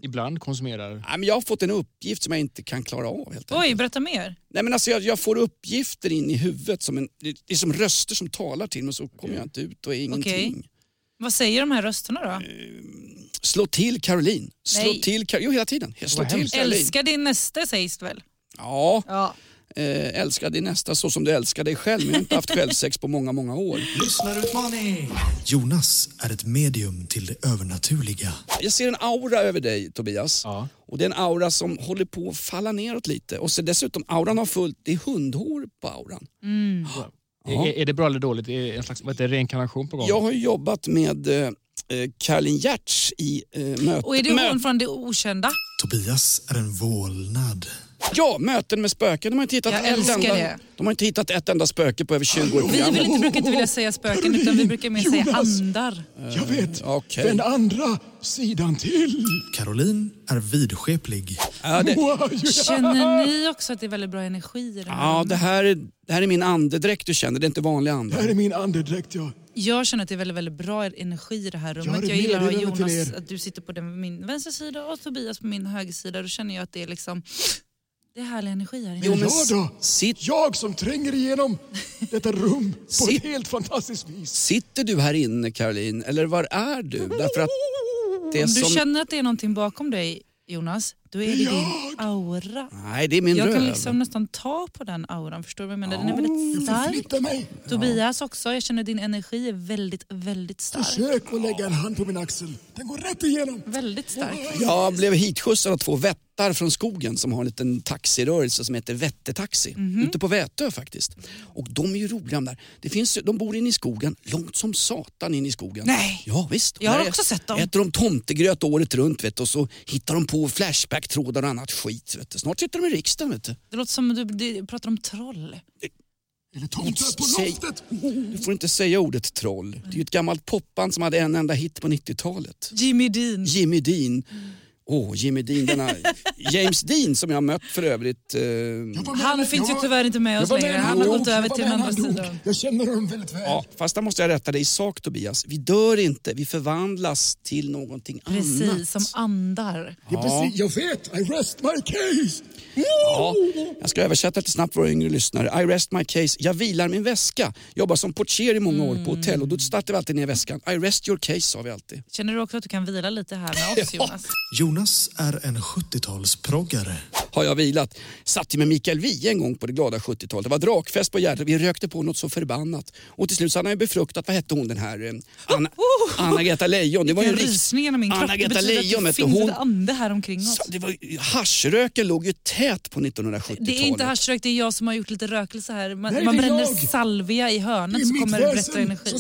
C: Ibland konsumerar...
B: nej, men jag har fått en uppgift som jag inte kan klara av helt enkelt.
D: Oj, berätta mer.
B: Nej, men alltså jag, jag får uppgifter in i huvudet, som en, det det är som röster som talar till mig så kommer jag inte ut och är ingenting.
D: Vad säger de här rösterna då?
B: Slå till Caroline. Slå
D: Nej.
B: till Caroline. Jo, hela tiden. Slå
C: Vad
B: till
C: hemskt.
B: Caroline.
D: Älska din nästa sägs det väl?
B: Ja,
D: Ja.
B: eh, älska din nästa så som du älskar dig själv. Men jag har inte haft självsex på många, många år.
E: Lyssnarutmaning! Jonas är ett medium till det övernaturliga.
B: Jag ser en aura över dig Tobias.
C: Ja.
B: Och det är en aura som håller på att falla neråt lite. Och så dessutom, auran har fullt, det är hundhår på auran.
C: Är, är det bra eller dåligt? Är en slags vad heter det, reinkarnation på gång?
B: Jag har ju jobbat med eh, eh, Caroline Giertz i eh, möten.
D: Och är det hon från det okända?
E: Tobias är en vålnad.
B: Ja, möten med spöken. De har inte hittat,
D: Jag
B: ett,
D: älskar
B: enda,
D: det.
B: de har inte hittat ett enda spöke på över 20 år. i
D: Vi
B: programmet.
D: vill inte, brukar inte vilja säga spöken utan vi brukar mer säga andar.
C: jag vet!
B: Okej.
C: andra sidan till!
E: Caroline är vidskeplig.
B: Ja, det,
D: Känner ni också att det är väldigt bra energi i den här?
B: ja, det, här är, det här är min andedräkt du känner. Det är inte vanlig ande.
C: är min andedräkt, ja.
D: Jag känner att det är väldigt, väldigt bra energi i det här rummet.
C: ett
D: Jag gillar att ha
C: meddelande till
D: Jonas,
C: er.
D: att du sitter på den, min vänstra sida och Tobias på min höger sida. Då känner jag att det är liksom... Det är härlig energi här inne.
B: men s- Sitt,
C: Jag som tränger igenom detta rum
B: på ett
C: helt fantastiskt vis.
B: sitter du här inne Caroline? Eller var är du? Därför att det
D: Om du
B: som...
D: känner att det är någonting bakom dig, Jonas, då är det din aura.
B: Nej, det är min
D: Jag
B: röv.
D: kan liksom nästan ta på den auran, förstår du vad jag menar? Den är väldigt stark.
C: mig.
D: Tobias också, jag känner att din energi är väldigt, väldigt stark.
C: Försök att lägga en hand på min axel. Den går rätt igenom.
D: Väldigt stark.
B: Jag blev hitskjutsad av två vättar från skogen som har en liten taxirörelse som heter Vättetaxi.
D: Mhm.
B: Ute på Vätö faktiskt. Och de är ju roliga de där. Det finns, ju- de bor inne i skogen, långt som satan inne i skogen.
D: Nej.
B: Ja, visst.
D: Jag har
B: Där
D: också sett dem.
B: Äter de tomtegröt året runt vet du, och så hittar de på flashbacktrådar och annat skit. Vet du. Snart sitter de i riksdagen vet du.
D: Det låter som att du, du pratar om troll.
B: Säg- Du får inte säga ordet troll. Det är ju ett gammalt popband som hade en enda hit på 90-talet.
D: Jimmy Dean.
B: Jimmy Dean. Åh, Jimmy Dean, denna James Dean som jag har mött för övrigt. Eh,
D: Han finns ju tyvärr inte med oss längre. Han har gått över till den andra sidan.
C: Jag känner honom väldigt väl.
B: ja, fast där måste jag rätta dig i sak Tobias. Vi dör inte, vi förvandlas till någonting annat.
D: Precis, som andar.
C: Jag vet, I rest my case.
B: Ja, jag ska översätta lite snabbt för våra yngre lyssnare. I rest my case. Jag vilar min väska. Jobbar som portier i många år på hotell och då startar vi alltid ner väskan. I rest your case sa vi alltid.
D: Känner du också att du kan vila lite här med oss Jonas?
E: Jonas är en 70-talsproggare.
B: har jag vilat. Satt ju med Mikael Wiehe en gång på det glada 70-talet. Det var drakfest på Gärdet. Vi rökte på något så förbannat. Och till slut så hade han ju befruktat, vad hette hon den här, eh, Anna,
D: Oh!
B: Anna-Greta Leijon. Det var ju en
D: Den
B: riks...
D: rysningen av min kropp det
B: Anna-Greta
D: betyder
B: Leijon,
D: att det
B: vet du,
D: finns
B: hon-
D: ett ande här omkring oss.
B: Det var, ju- haschröken låg ju tät på 1970-talet.
D: Det är inte haschrök, det är jag som har gjort lite rökelse här. Man, man bränner salvia i hörnet så kommer det bättre energi.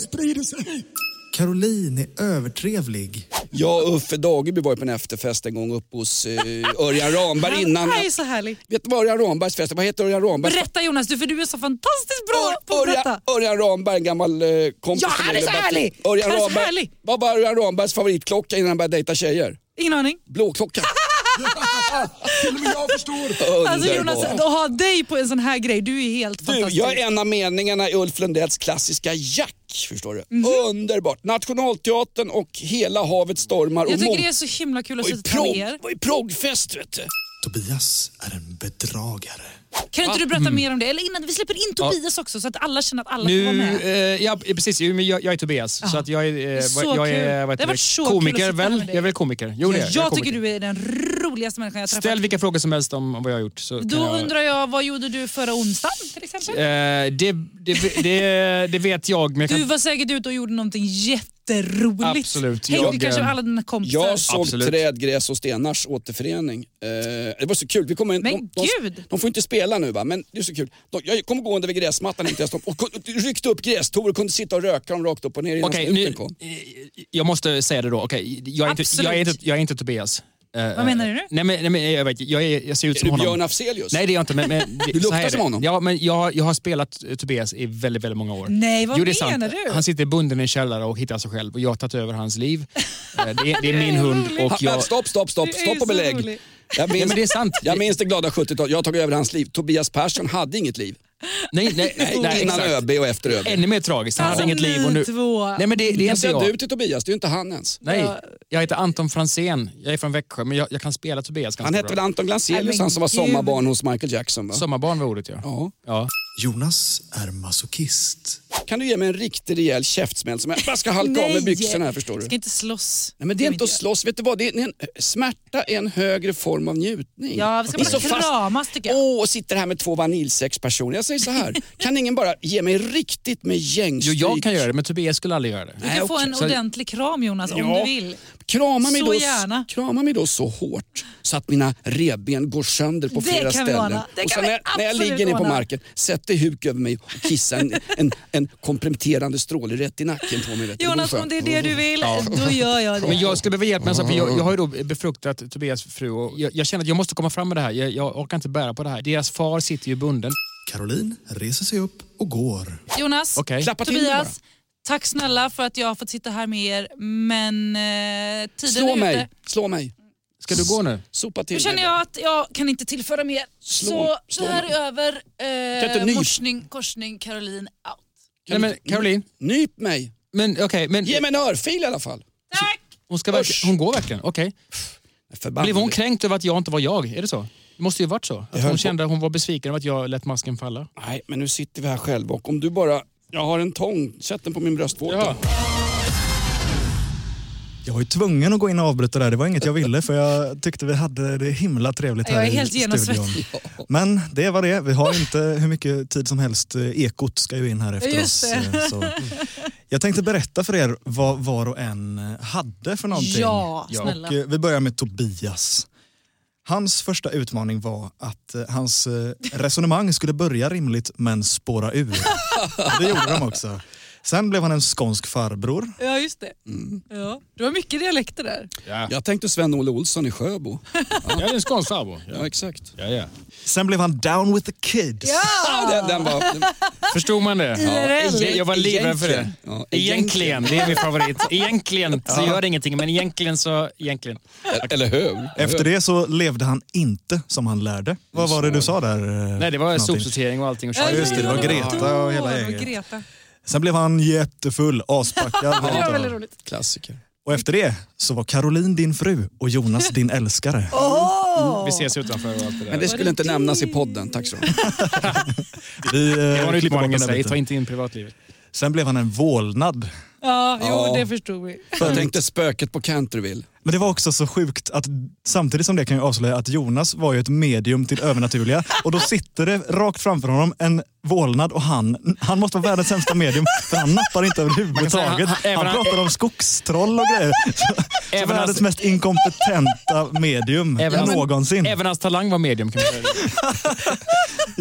E: Caroline är övertrevlig.
B: Jag och Uffe Dageby var ju på en efterfest en gång uppe hos eh, Örjan Ramberg innan.
D: Det här är så härligt.
B: Vet du vad Örjan Rambergs fest Vad heter Örjan Rambergs
D: Berätta Jonas, du, för du är så fantastiskt bra på att
B: Örjan,
D: berätta.
B: Örjan Ramberg, en gammal eh, kompis
D: Ja,
B: till mig,
D: han är så
B: Bert-
D: härlig!
B: Örjan
D: Han är så
B: Ramberg,
D: härlig!
B: vad var Örjan Rambergs favoritklocka innan han började dejta tjejer?
D: Ingen aning.
B: Blåklocka. Till och med jag förstår.
D: Alltså Jonas, att ha dig på en sån här grej, du är helt
B: Du,
D: fantastisk.
B: jag är en av meningarna i Ulf Lundells klassiska Jack. Förstår du?
D: Mhm.
B: Underbart! Nationalteatern och hela havet stormar.
D: Jag
B: och
D: tycker
B: mång-
D: det är så himla kul att
B: och i
D: sitta med
B: prog,
D: er.
B: och i proggfest vet du.
E: Tobias är en bedragare.
D: Kan inte du berätta mer om det? Eller innan, vi släpper in Tobias också så att alla känner att alla får vara
C: Mm. Nu,
D: med.
C: eh, ja, precis. Jo, men Jag, jag är Tobias. Så att jag är, eh,
D: Så
C: vad- jag
D: kul.
C: är
D: Det
C: vad heter
D: har varit så
C: det,
D: kul att
C: komiker
D: sitta
C: väl?
D: med dig.
C: Jag är väl komiker? Jo, det är
D: jag
C: jag är
D: tycker
C: komiker.
D: du är den roligaste människan jag träffat.
C: Ställ vilka frågor som helst om om vad jag har gjort. Så kan
D: Då
C: jag...
D: undrar jag, vad gjorde du förra onsdagen till exempel?
C: Eh, det, det, det, det vet jag, men jag kan...
D: Du var säkert ute och gjorde någonting jätteroligt.
C: Absolut,
D: Hängde
C: jag,
D: kanske
C: eh,
D: med alla dina kompisar.
B: Jag såg
C: Absolut.
B: Träd, gräs och stenars återförening. Eh, det var så kul. Vi kommer in,
D: Men
B: de, De,
D: gud!
B: de får inte spela nu va, men det är så kul. De, jag kom gående vid gräsmattan inte ens de, och kunde- ryckte upp grästor och kunde sitta och röka dem rakt upp och ner innan
C: Okej,
B: snuten
C: nu,
B: kom.
C: eh, jag måste säga det då. Okej, jag, är inte,
D: Absolut.
C: jag, är inte, jag är inte Tobias. Eh,
D: Vad menar du nu?
C: Nej, men, nej, men jag, vet, jag, är, jag ser ut
B: Är
C: som
B: du
C: honom.
B: Björn Afzelius?
C: Nej, det är jag inte. Men, men, det-
B: Du
C: så
B: luktar
C: här är
B: som
C: det.
B: honom.
C: Ja, men jag, jag har spelat eh, Tobias i väldigt, väldigt många år.
D: Nej, vad
C: Jo, det är
D: menar
C: sant.
D: du?
C: Han sitter bunden i en källare och hittar sig själv och jag har tagit över hans liv. Eh, det, är, det är min hund och
B: Ha,
C: jag...
B: Stopp, stopp, stopp,
D: Du är
B: stopp och
D: så
B: belägg.
D: rolig.
B: Jag minns,
C: Ja, men det är sant.
B: jag minns det glada 70-talet. Jag har tagit över hans liv. Tobias Persson hade inget liv.
C: Nej, nej, nej, nej
B: Innan
C: exakt.
B: ÖB och efter ÖB.
C: Ännu mer tragiskt. Han hade
D: Alltså,
C: inget liv och
D: ni
C: nu...
D: två.
C: Nej, men det, det är
B: Jag
C: inte jag.
B: säger du till Tobias, det är ju inte han ens.
C: Nej, jag heter Anton Fransén. Jag är från Växjö, men jag, jag kan spela Tobias ganska
B: Han hette
C: bra.
B: väl Anton
D: Nej,
B: Glanzelius,
D: men
B: han som var
D: gud.
B: sommarbarn hos Michael Jackson va?
C: Sommarbarn var ordet ja.
B: Ja.
C: ja.
E: Jonas är masochist.
B: kan du ge mig en riktig rejäl käftsmäll som jag bara ska halka av med byxorna här förstår du.
D: Ska inte slåss.
B: Nej, men det är
D: Ska vi
B: inte att
D: göra.
B: slåss. Vet du vad? Det är en, eh, smärta är en högre form av njutning.
D: Ja, vi ska
B: är
D: bara
B: så fast-
D: kramas tycker jag.
B: Åh, och sitter här med två vaniljsexpersoner. Jag säger så här, kan ingen bara ge mig riktigt med gängstryk?
C: Jo, jag kan göra det, men Tobias skulle aldrig göra det.
D: Du
B: nej,
D: kan få
B: okej.
D: en
B: Så-
D: ordentlig kram Jonas om
B: Ja.
D: du vill.
B: Krama mig,
D: Så
B: då,
D: gärna.
B: krama mig då så hårt så att mina revben går sönder på
D: Det
B: flera
D: kan vi
B: ställen.
D: ordna. Det
B: och
D: kan
B: sen
D: vi
B: när, jag- när jag
D: absolut
B: ligger ner på
D: ordna.
B: marken, sätter huk över mig och kissar en, en, en komprimerande stråle rätt i nacken på mig. Vet du. Det vore
D: Jonas, om
B: skönt.
D: det är det du vill, då gör jag det.
C: Men jag skulle behöva hjälp med en sak, för jag, jag har ju då
B: Mm.
C: befruktat Tobias fru och jag, jag känner att jag måste komma fram med det här. Jag, jag orkar inte bära på det här. Deras far sitter ju bunden.
E: Caroline reser sig upp och går.
D: Jonas,
C: Okej.
B: Klappa till mig bara.
D: Tobias, tack snälla för att jag har fått sitta här med er, men eh, tiden är
B: Slå
D: ute.
B: mig, slå mig,
C: Ska du gå nu?
B: sopa till
D: Nu
B: mig.
D: känner jag att jag kan inte tillföra mer.
B: Slå-
D: så
B: slå
D: det här
B: mig.
D: är över.
B: Kan inte
D: Eh,
B: ny-
D: morsning, korsning, Caroline out.
C: Nej, men Caroline.
B: Nyp mig,
C: Men okej, men
B: ge mig en örfil i alla fall.
D: Tack!
C: hon, ska verkligen-
B: Usch.
C: hon går verkligen. Okej.
B: Förbannade.
C: Blev hon kränkt över att jag inte var jag? Är det så? Det måste ju varit så.
B: höll
C: Att hon
B: på.
C: kände att hon var besviken över att jag lät masken falla.
B: Nej, men nu sitter vi här själva och om du bara... Jag har en tång, sätt den på min bröstvårta.
C: Ja.
A: Jag var ju tvungen att gå in och avbryta där. Det var inget jag ville för jag tyckte vi hade det himla trevligt här
D: Jag är
A: i
D: helt
A: studion.
D: genomsvettig.
A: Men det var det. Vi har inte hur mycket tid som helst. Eh, Ekot ska ju in här efter
D: Just
A: oss.
D: det.
A: eh, Så. Jag tänkte berätta för er vad var och en hade för någonting.
D: Ja, snälla.
A: Och, eh, vi börjar med Tobias. Hans första utmaning var att eh, hans eh, resonemang skulle börja rimligt men spåra ur. Och det gjorde de också. Sen blev han en skånsk farbror.
D: Ja, just det. Ja. Det var mycket dialekter där.
B: Jag tänkte Sven-Olle Olsson i Sjöbo.
C: Jag är en skånsk farbror.
B: Ja, exakt.
C: Ja, ja.
A: Sen blev han down with the kids.
B: Ah, den, den var... Den,
C: Förstod man det?
D: IRL.
C: Jag var livrädd för det.
B: Ja,
C: Egentligen, det är min favorit. Egentligen så gör det ingenting, men egentligen så... Egentligen.
B: Eller hur?
A: Efter det så levde han inte som han lärde. Vad var det du sa där? eh,
C: Nej, det var
A: för någonting?
C: sopsortering och allting. Och
D: Ja,
C: kör.
A: just det, det var
D: ja,
A: Greta och
D: då.
A: hela
D: Det var
A: gänget.
D: Greta.
A: Sen blev han jättefull, aspackad.
D: Det var väldigt roligt.
B: Klassiker.
A: och efter det så var Caroline din fru och Jonas din älskare.
C: Vi ses utanför och allt det där.
B: Men det skulle inte nämnas i podden, tack så mycket.
A: Vi, eh,
C: det var
A: klipper
C: en
A: bort
C: utmaning i
A: den där
C: sig,
A: biten.
C: ta inte in privatlivet.
A: Sen blev han en vålnad.
D: Ja, jo,
B: Ja.
D: det förstod vi.
B: Jag tänkte spöket på Canterville.
A: Men det var också så sjukt att samtidigt som det kan jag avslöja att Jonas var ju ett medium till övernaturliga och då sitter det rakt framför honom en vålnad och han, han måste vara världens sämsta medium för han nappar inte
C: säga, han-
A: överhuvudtaget.
C: han- även
A: Han
C: han-
A: pratar om skogstroll och grejer. Så, så
C: Även
A: världens
C: hans-
A: mest inkompetenta medium
C: Även hans-
A: någonsin.
C: Även hans talang var medium kan man säga.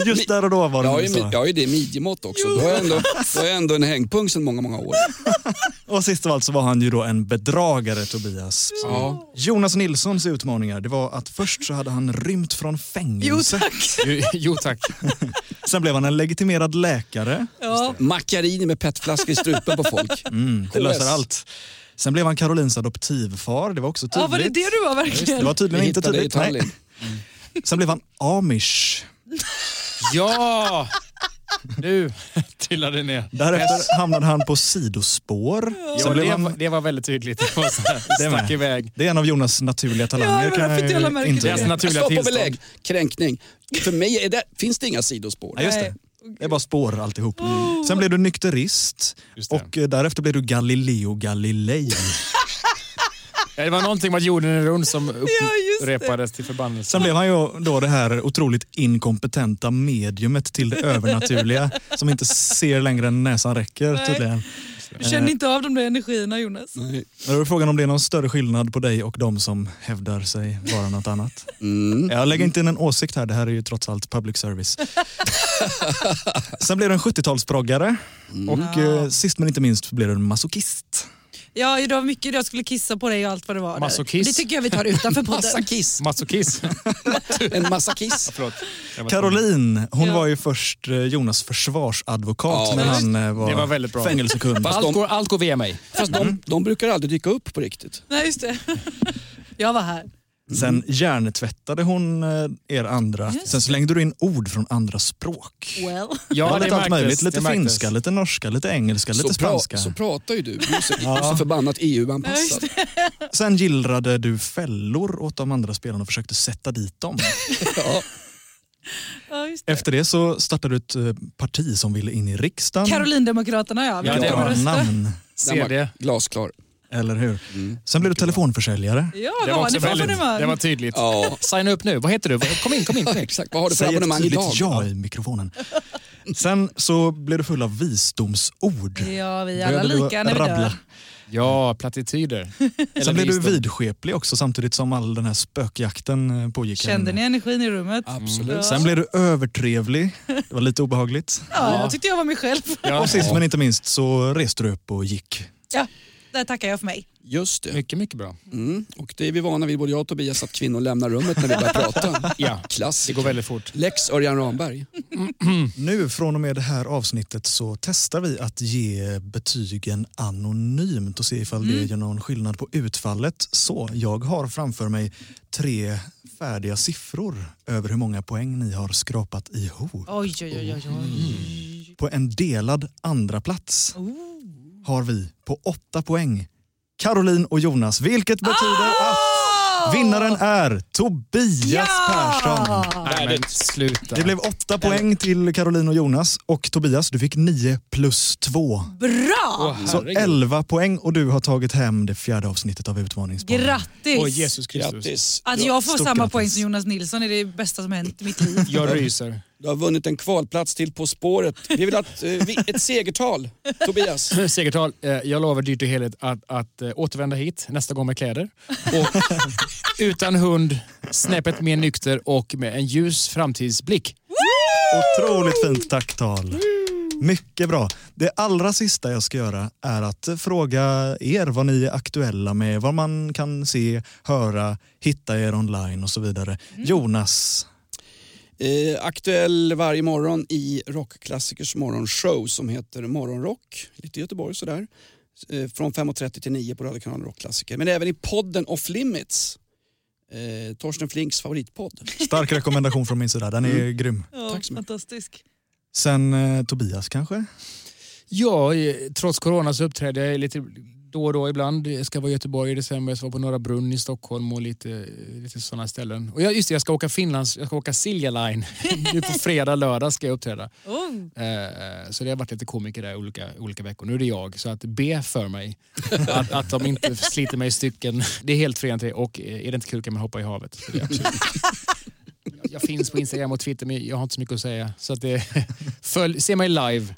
A: Just där och då var
B: Jag har
A: det
B: ju,
A: så.
B: mi- jag har ju det i midjemått också. Då har jag ändå, då har jag ändå en hängpung sedan många, många år.
A: Och sist av allt så var han ju då en bedragare, Tobias.
B: Ja.
A: Jonas Nilssons utmaningar det var att först så hade han rymt från fängelse.
C: Jo, jo tack.
A: Sen blev han en legitimerad läkare.
D: Ja.
B: Macchiarini med petflaskor i strupen på folk.
A: Mm, det
B: KS.
A: löser allt. Sen blev han Carolins adoptivfar. Det var också tydligt.
D: ja, var det det du var verkligen?
A: det var tydligen
B: Vi
A: inte
B: hittade i
A: tydligt.
B: Tallinn.
A: Nej. Sen blev han amish.
C: Ja! Nu trillade det ner.
A: Därefter hamnade han på sidospår.
C: Ja,
A: Sen blev
C: det,
A: han,
C: var, det var väldigt tydligt. Det var så här,
A: Det
C: stack
A: med.
C: iväg.
A: det är en av Jonas naturliga talanger.
D: Ja, men
A: kan
D: jag fick
A: ju
D: jävla märke till
A: intyga.
C: Deras naturliga
B: Stopp och
C: tillstånd.
B: belägg, kränkning. För mig är det, finns det inga sidospår.
A: Nej, just det. Det är bara spår alltihop. Sen blev du nykterist
C: Just det.
A: och eh, därefter blev du Galileo Galilei.
C: Ja, Det var någonting med att jorden är rund som
D: just det.
C: upprepades till förbannelse.
A: Sen blev han ju då det här otroligt inkompetenta mediumet till det övernaturliga som inte ser längre än näsan räcker
D: Nej.
A: tydligen.
D: Du kände inte av de där energierna Jonas.
B: Mm.
A: Men då är frågan om det är någon större skillnad på dig och de som hävdar sig vara något annat.
B: Mm.
A: Jag lägger inte in en åsikt här, det här är ju trots allt public service. Sen blev du en 70-talsproggare
B: Mm.
A: och eh, sist men inte minst blev du en masochist.
D: Ja, det var mycket jag skulle kissa på dig och allt vad det var. där.
C: Massokiss.
D: Det tycker jag vi tar utanför
B: Massa
D: podden.
B: kiss.
C: Masochist.
B: En massa kiss.
C: Förlåt. Jag var
A: Caroline, hon
D: Ja.
A: var ju först eh, Jonas försvarsadvokat
B: Ja,
A: när
B: visst.
A: han eh, var,
C: Det var väldigt bra.
A: fängelsekund.
B: Fast
C: Allt
B: de,
C: går, allt går via mig.
B: fast de, de brukar aldrig dyka upp på riktigt.
D: Nej, just det. Jag var här.
A: Sen hjärntvättade hon eh, er andra.
D: Just
A: Sen slängde du in ord från andra språk.
D: Well.
A: Ja,
C: Ja,
A: lite allt möjligt.
C: det
A: Lite
C: märktes.
A: finska, lite norska, lite engelska, lite
B: så,
A: spanska.
B: så pratar ju du. Du är så, du är så förbannat EU-anpassad.
A: Sen gillrade du fällor åt de andra spelarna och försökte sätta dit dem.
B: Ja.
D: Ja, just det.
A: Efter det så startade du ett eh, parti som ville in i riksdagen.
D: Karolindemokraterna ja. Vi
C: Ja, det
D: kommer
C: var
D: rösta.
A: namn,
B: Den var
C: CD.
B: glasklar.
A: eller hur?
B: Mm.
A: Sen blev du telefonförsäljare.
D: Ja,
C: Det
D: vad
C: var,
D: har ni
C: också
D: för
C: väldigt, det var
D: abonnemang?
C: tydligt.
B: Ja.
C: Signa upp nu. Vad heter du? Vad- Kom in, kom in. Kom in.
B: Exakt, vad har du för
A: Säg ett
B: abonnemang
A: tydligt
B: idag?
A: ja i mikrofonen. Sen så blev du full av visdomsord.
D: Ja, vi är alla
A: Började du
D: lika när vi
A: rabbla.
D: dör.
C: Ja, plattityder. Eller
A: Sen blev du
C: visdom.
A: vidskeplig också samtidigt som all den här spökjakten eh, pågick. här
D: Kände
A: inne.
D: ni energin i rummet?
B: Absolut.
D: Ja.
C: Mm.
A: Sen blev du övertrevlig. Det var lite obehagligt.
D: Ja, jag tyckte jag var mig själv.
C: Ja,
A: Och sist men inte minst så reste du upp och gick.
D: Ja, där tackar jag för mig.
B: Just det.
C: mycket, mycket bra.
B: Mm. Och det är vi vana vid, både jag och Tobias, att kvinnor lämnar rummet när vi börjar prata.
C: Ja, det
B: Klassiker.
C: går väldigt fort.
B: Lex Örjan Ramberg.
A: Nu från och med det här avsnittet så testar vi att ge betygen anonymt och se ifall det gör någon skillnad på utfallet. Så jag har framför mig tre färdiga siffror över hur många poäng ni har skrapat ihop.
D: Oj, oj, oj. oj, oj.
A: På en delad andra plats har vi på åtta poäng Caroline och Jonas, vilket betyder att vinnaren är Tobias Persson.
C: Nej, men sluta.
A: Det blev åtta poäng till Caroline och Jonas och Tobias, du fick nio plus två.
D: Bra!
C: Åh,
A: Så
C: herregud.
A: elva poäng och du har tagit hem det fjärde avsnittet av Utmaningspodden.
D: Grattis!
C: Åh, Jesus Kristus.
B: Grattis.
D: Att jag får
A: stort
D: samma
A: grattis.
D: poäng som Jonas Nilsson är det bästa som hänt i mitt liv.
C: Jag ryser.
B: Du har vunnit en kvalplats till På spåret. Vi vill ha ett, eh, vi- ett segertal, Tobias.
C: Segertal, eh, jag lovar dyrt i helhet att, att eh, återvända hit nästa gång med kläder. Och utan hund, snäppet mer nykter och med en ljus framtidsblick.
A: Otroligt fint tacktal. Mycket bra. Det allra sista jag ska göra är att fråga er vad ni är aktuella med, vad man kan se, höra, hitta er online och så vidare. Jonas,
B: Eh, aktuell varje morgon i Rockklassikers morgonshow som heter Morgonrock, lite i Göteborg sådär. Eh, från 5.30 till 9 på Radiokanalen Rockklassiker. Men även i podden Off Limits, eh, Torsten Flinks favoritpodd.
A: stark rekommendation från min sida. Den är grym.
D: Ja,
B: Tack så mycket.
D: Fantastisk.
A: Sen eh, Tobias kanske?
C: Ja, eh, trots corona så uppträder jag lite då och då ibland. Jag ska vara i Göteborg i december, jag ska vara på Norra Brunn i Stockholm och lite, lite sådana ställen. Och jag, just det, jag ska åka Finlands, jag ska åka Silja Line. nu på fredag, lördag ska jag uppträda.
D: Oh.
C: Eh, Så det har varit lite komiker där olika, olika veckor. Nu är det jag, så att be för mig att, att de inte sliter mig i stycken. Det är helt fri entré och eh, är det inte kul kan man hoppa i havet. Så det är absolut- jag, jag finns på Instagram och Twitter men jag har inte så mycket att säga. Så att det, följ, se mig live.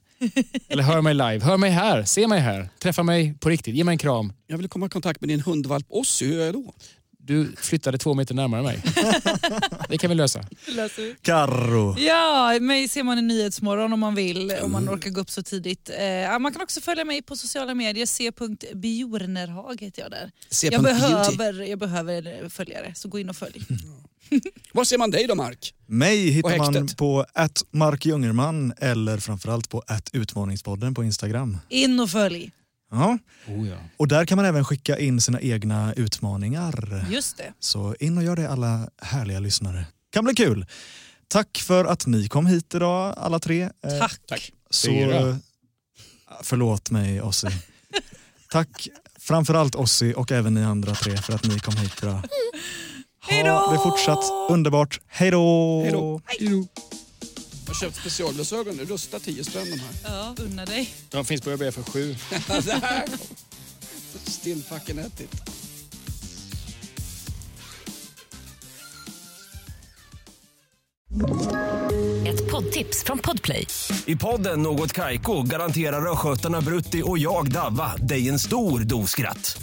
C: Eller hör mig live. Hör mig här, se mig här. Träffa mig på riktigt, ge mig en kram.
B: Jag vill komma i kontakt med din hundvalp Ossi, hur gör jag då?
C: Du flyttade två meter närmare mig. Det kan vi lösa.
A: Karro.
D: Ja, mig ser man i Nyhetsmorgon om man vill, om man orkar gå upp så tidigt. Eh, ja, man kan också följa mig på sociala medier, c.bjornerhag heter jag där.
B: C.
D: Jag
B: Beauty.
D: behöver, jag behöver följare, så gå in och följ.
B: Var ser man dig då Mark?
A: Mig hittar
B: Och
A: man
B: häktet.
A: på att Mark Jungerman eller framförallt på att Utmaningspodden på Instagram.
D: In och följ,
A: Ja.
C: Oh, ja.
A: Och där kan man även skicka in sina egna utmaningar.
D: just det.
A: Så in och gör det alla härliga lyssnare. Kan bli kul! Tack för att ni kom hit idag alla tre. Eh,
D: Tack.
A: Så,
C: Fyra.
A: Förlåt mig Ossi. Tack framförallt Ossi och även ni andra tre för att ni kom hit idag. Ha det fortsatt underbart. Hej då!
B: Hej då. Jag har köpt specialglasögon nu, rusta 10 spänn de här.
D: Ja, unna dig.
C: De finns på ÖB för sju.
B: Still fucking at it.
H: Ett poddtips från Podplay.
F: I podden Något Kaiko garanterar östgötarna Brutti och jag, Davva, dig en stor dos skratt.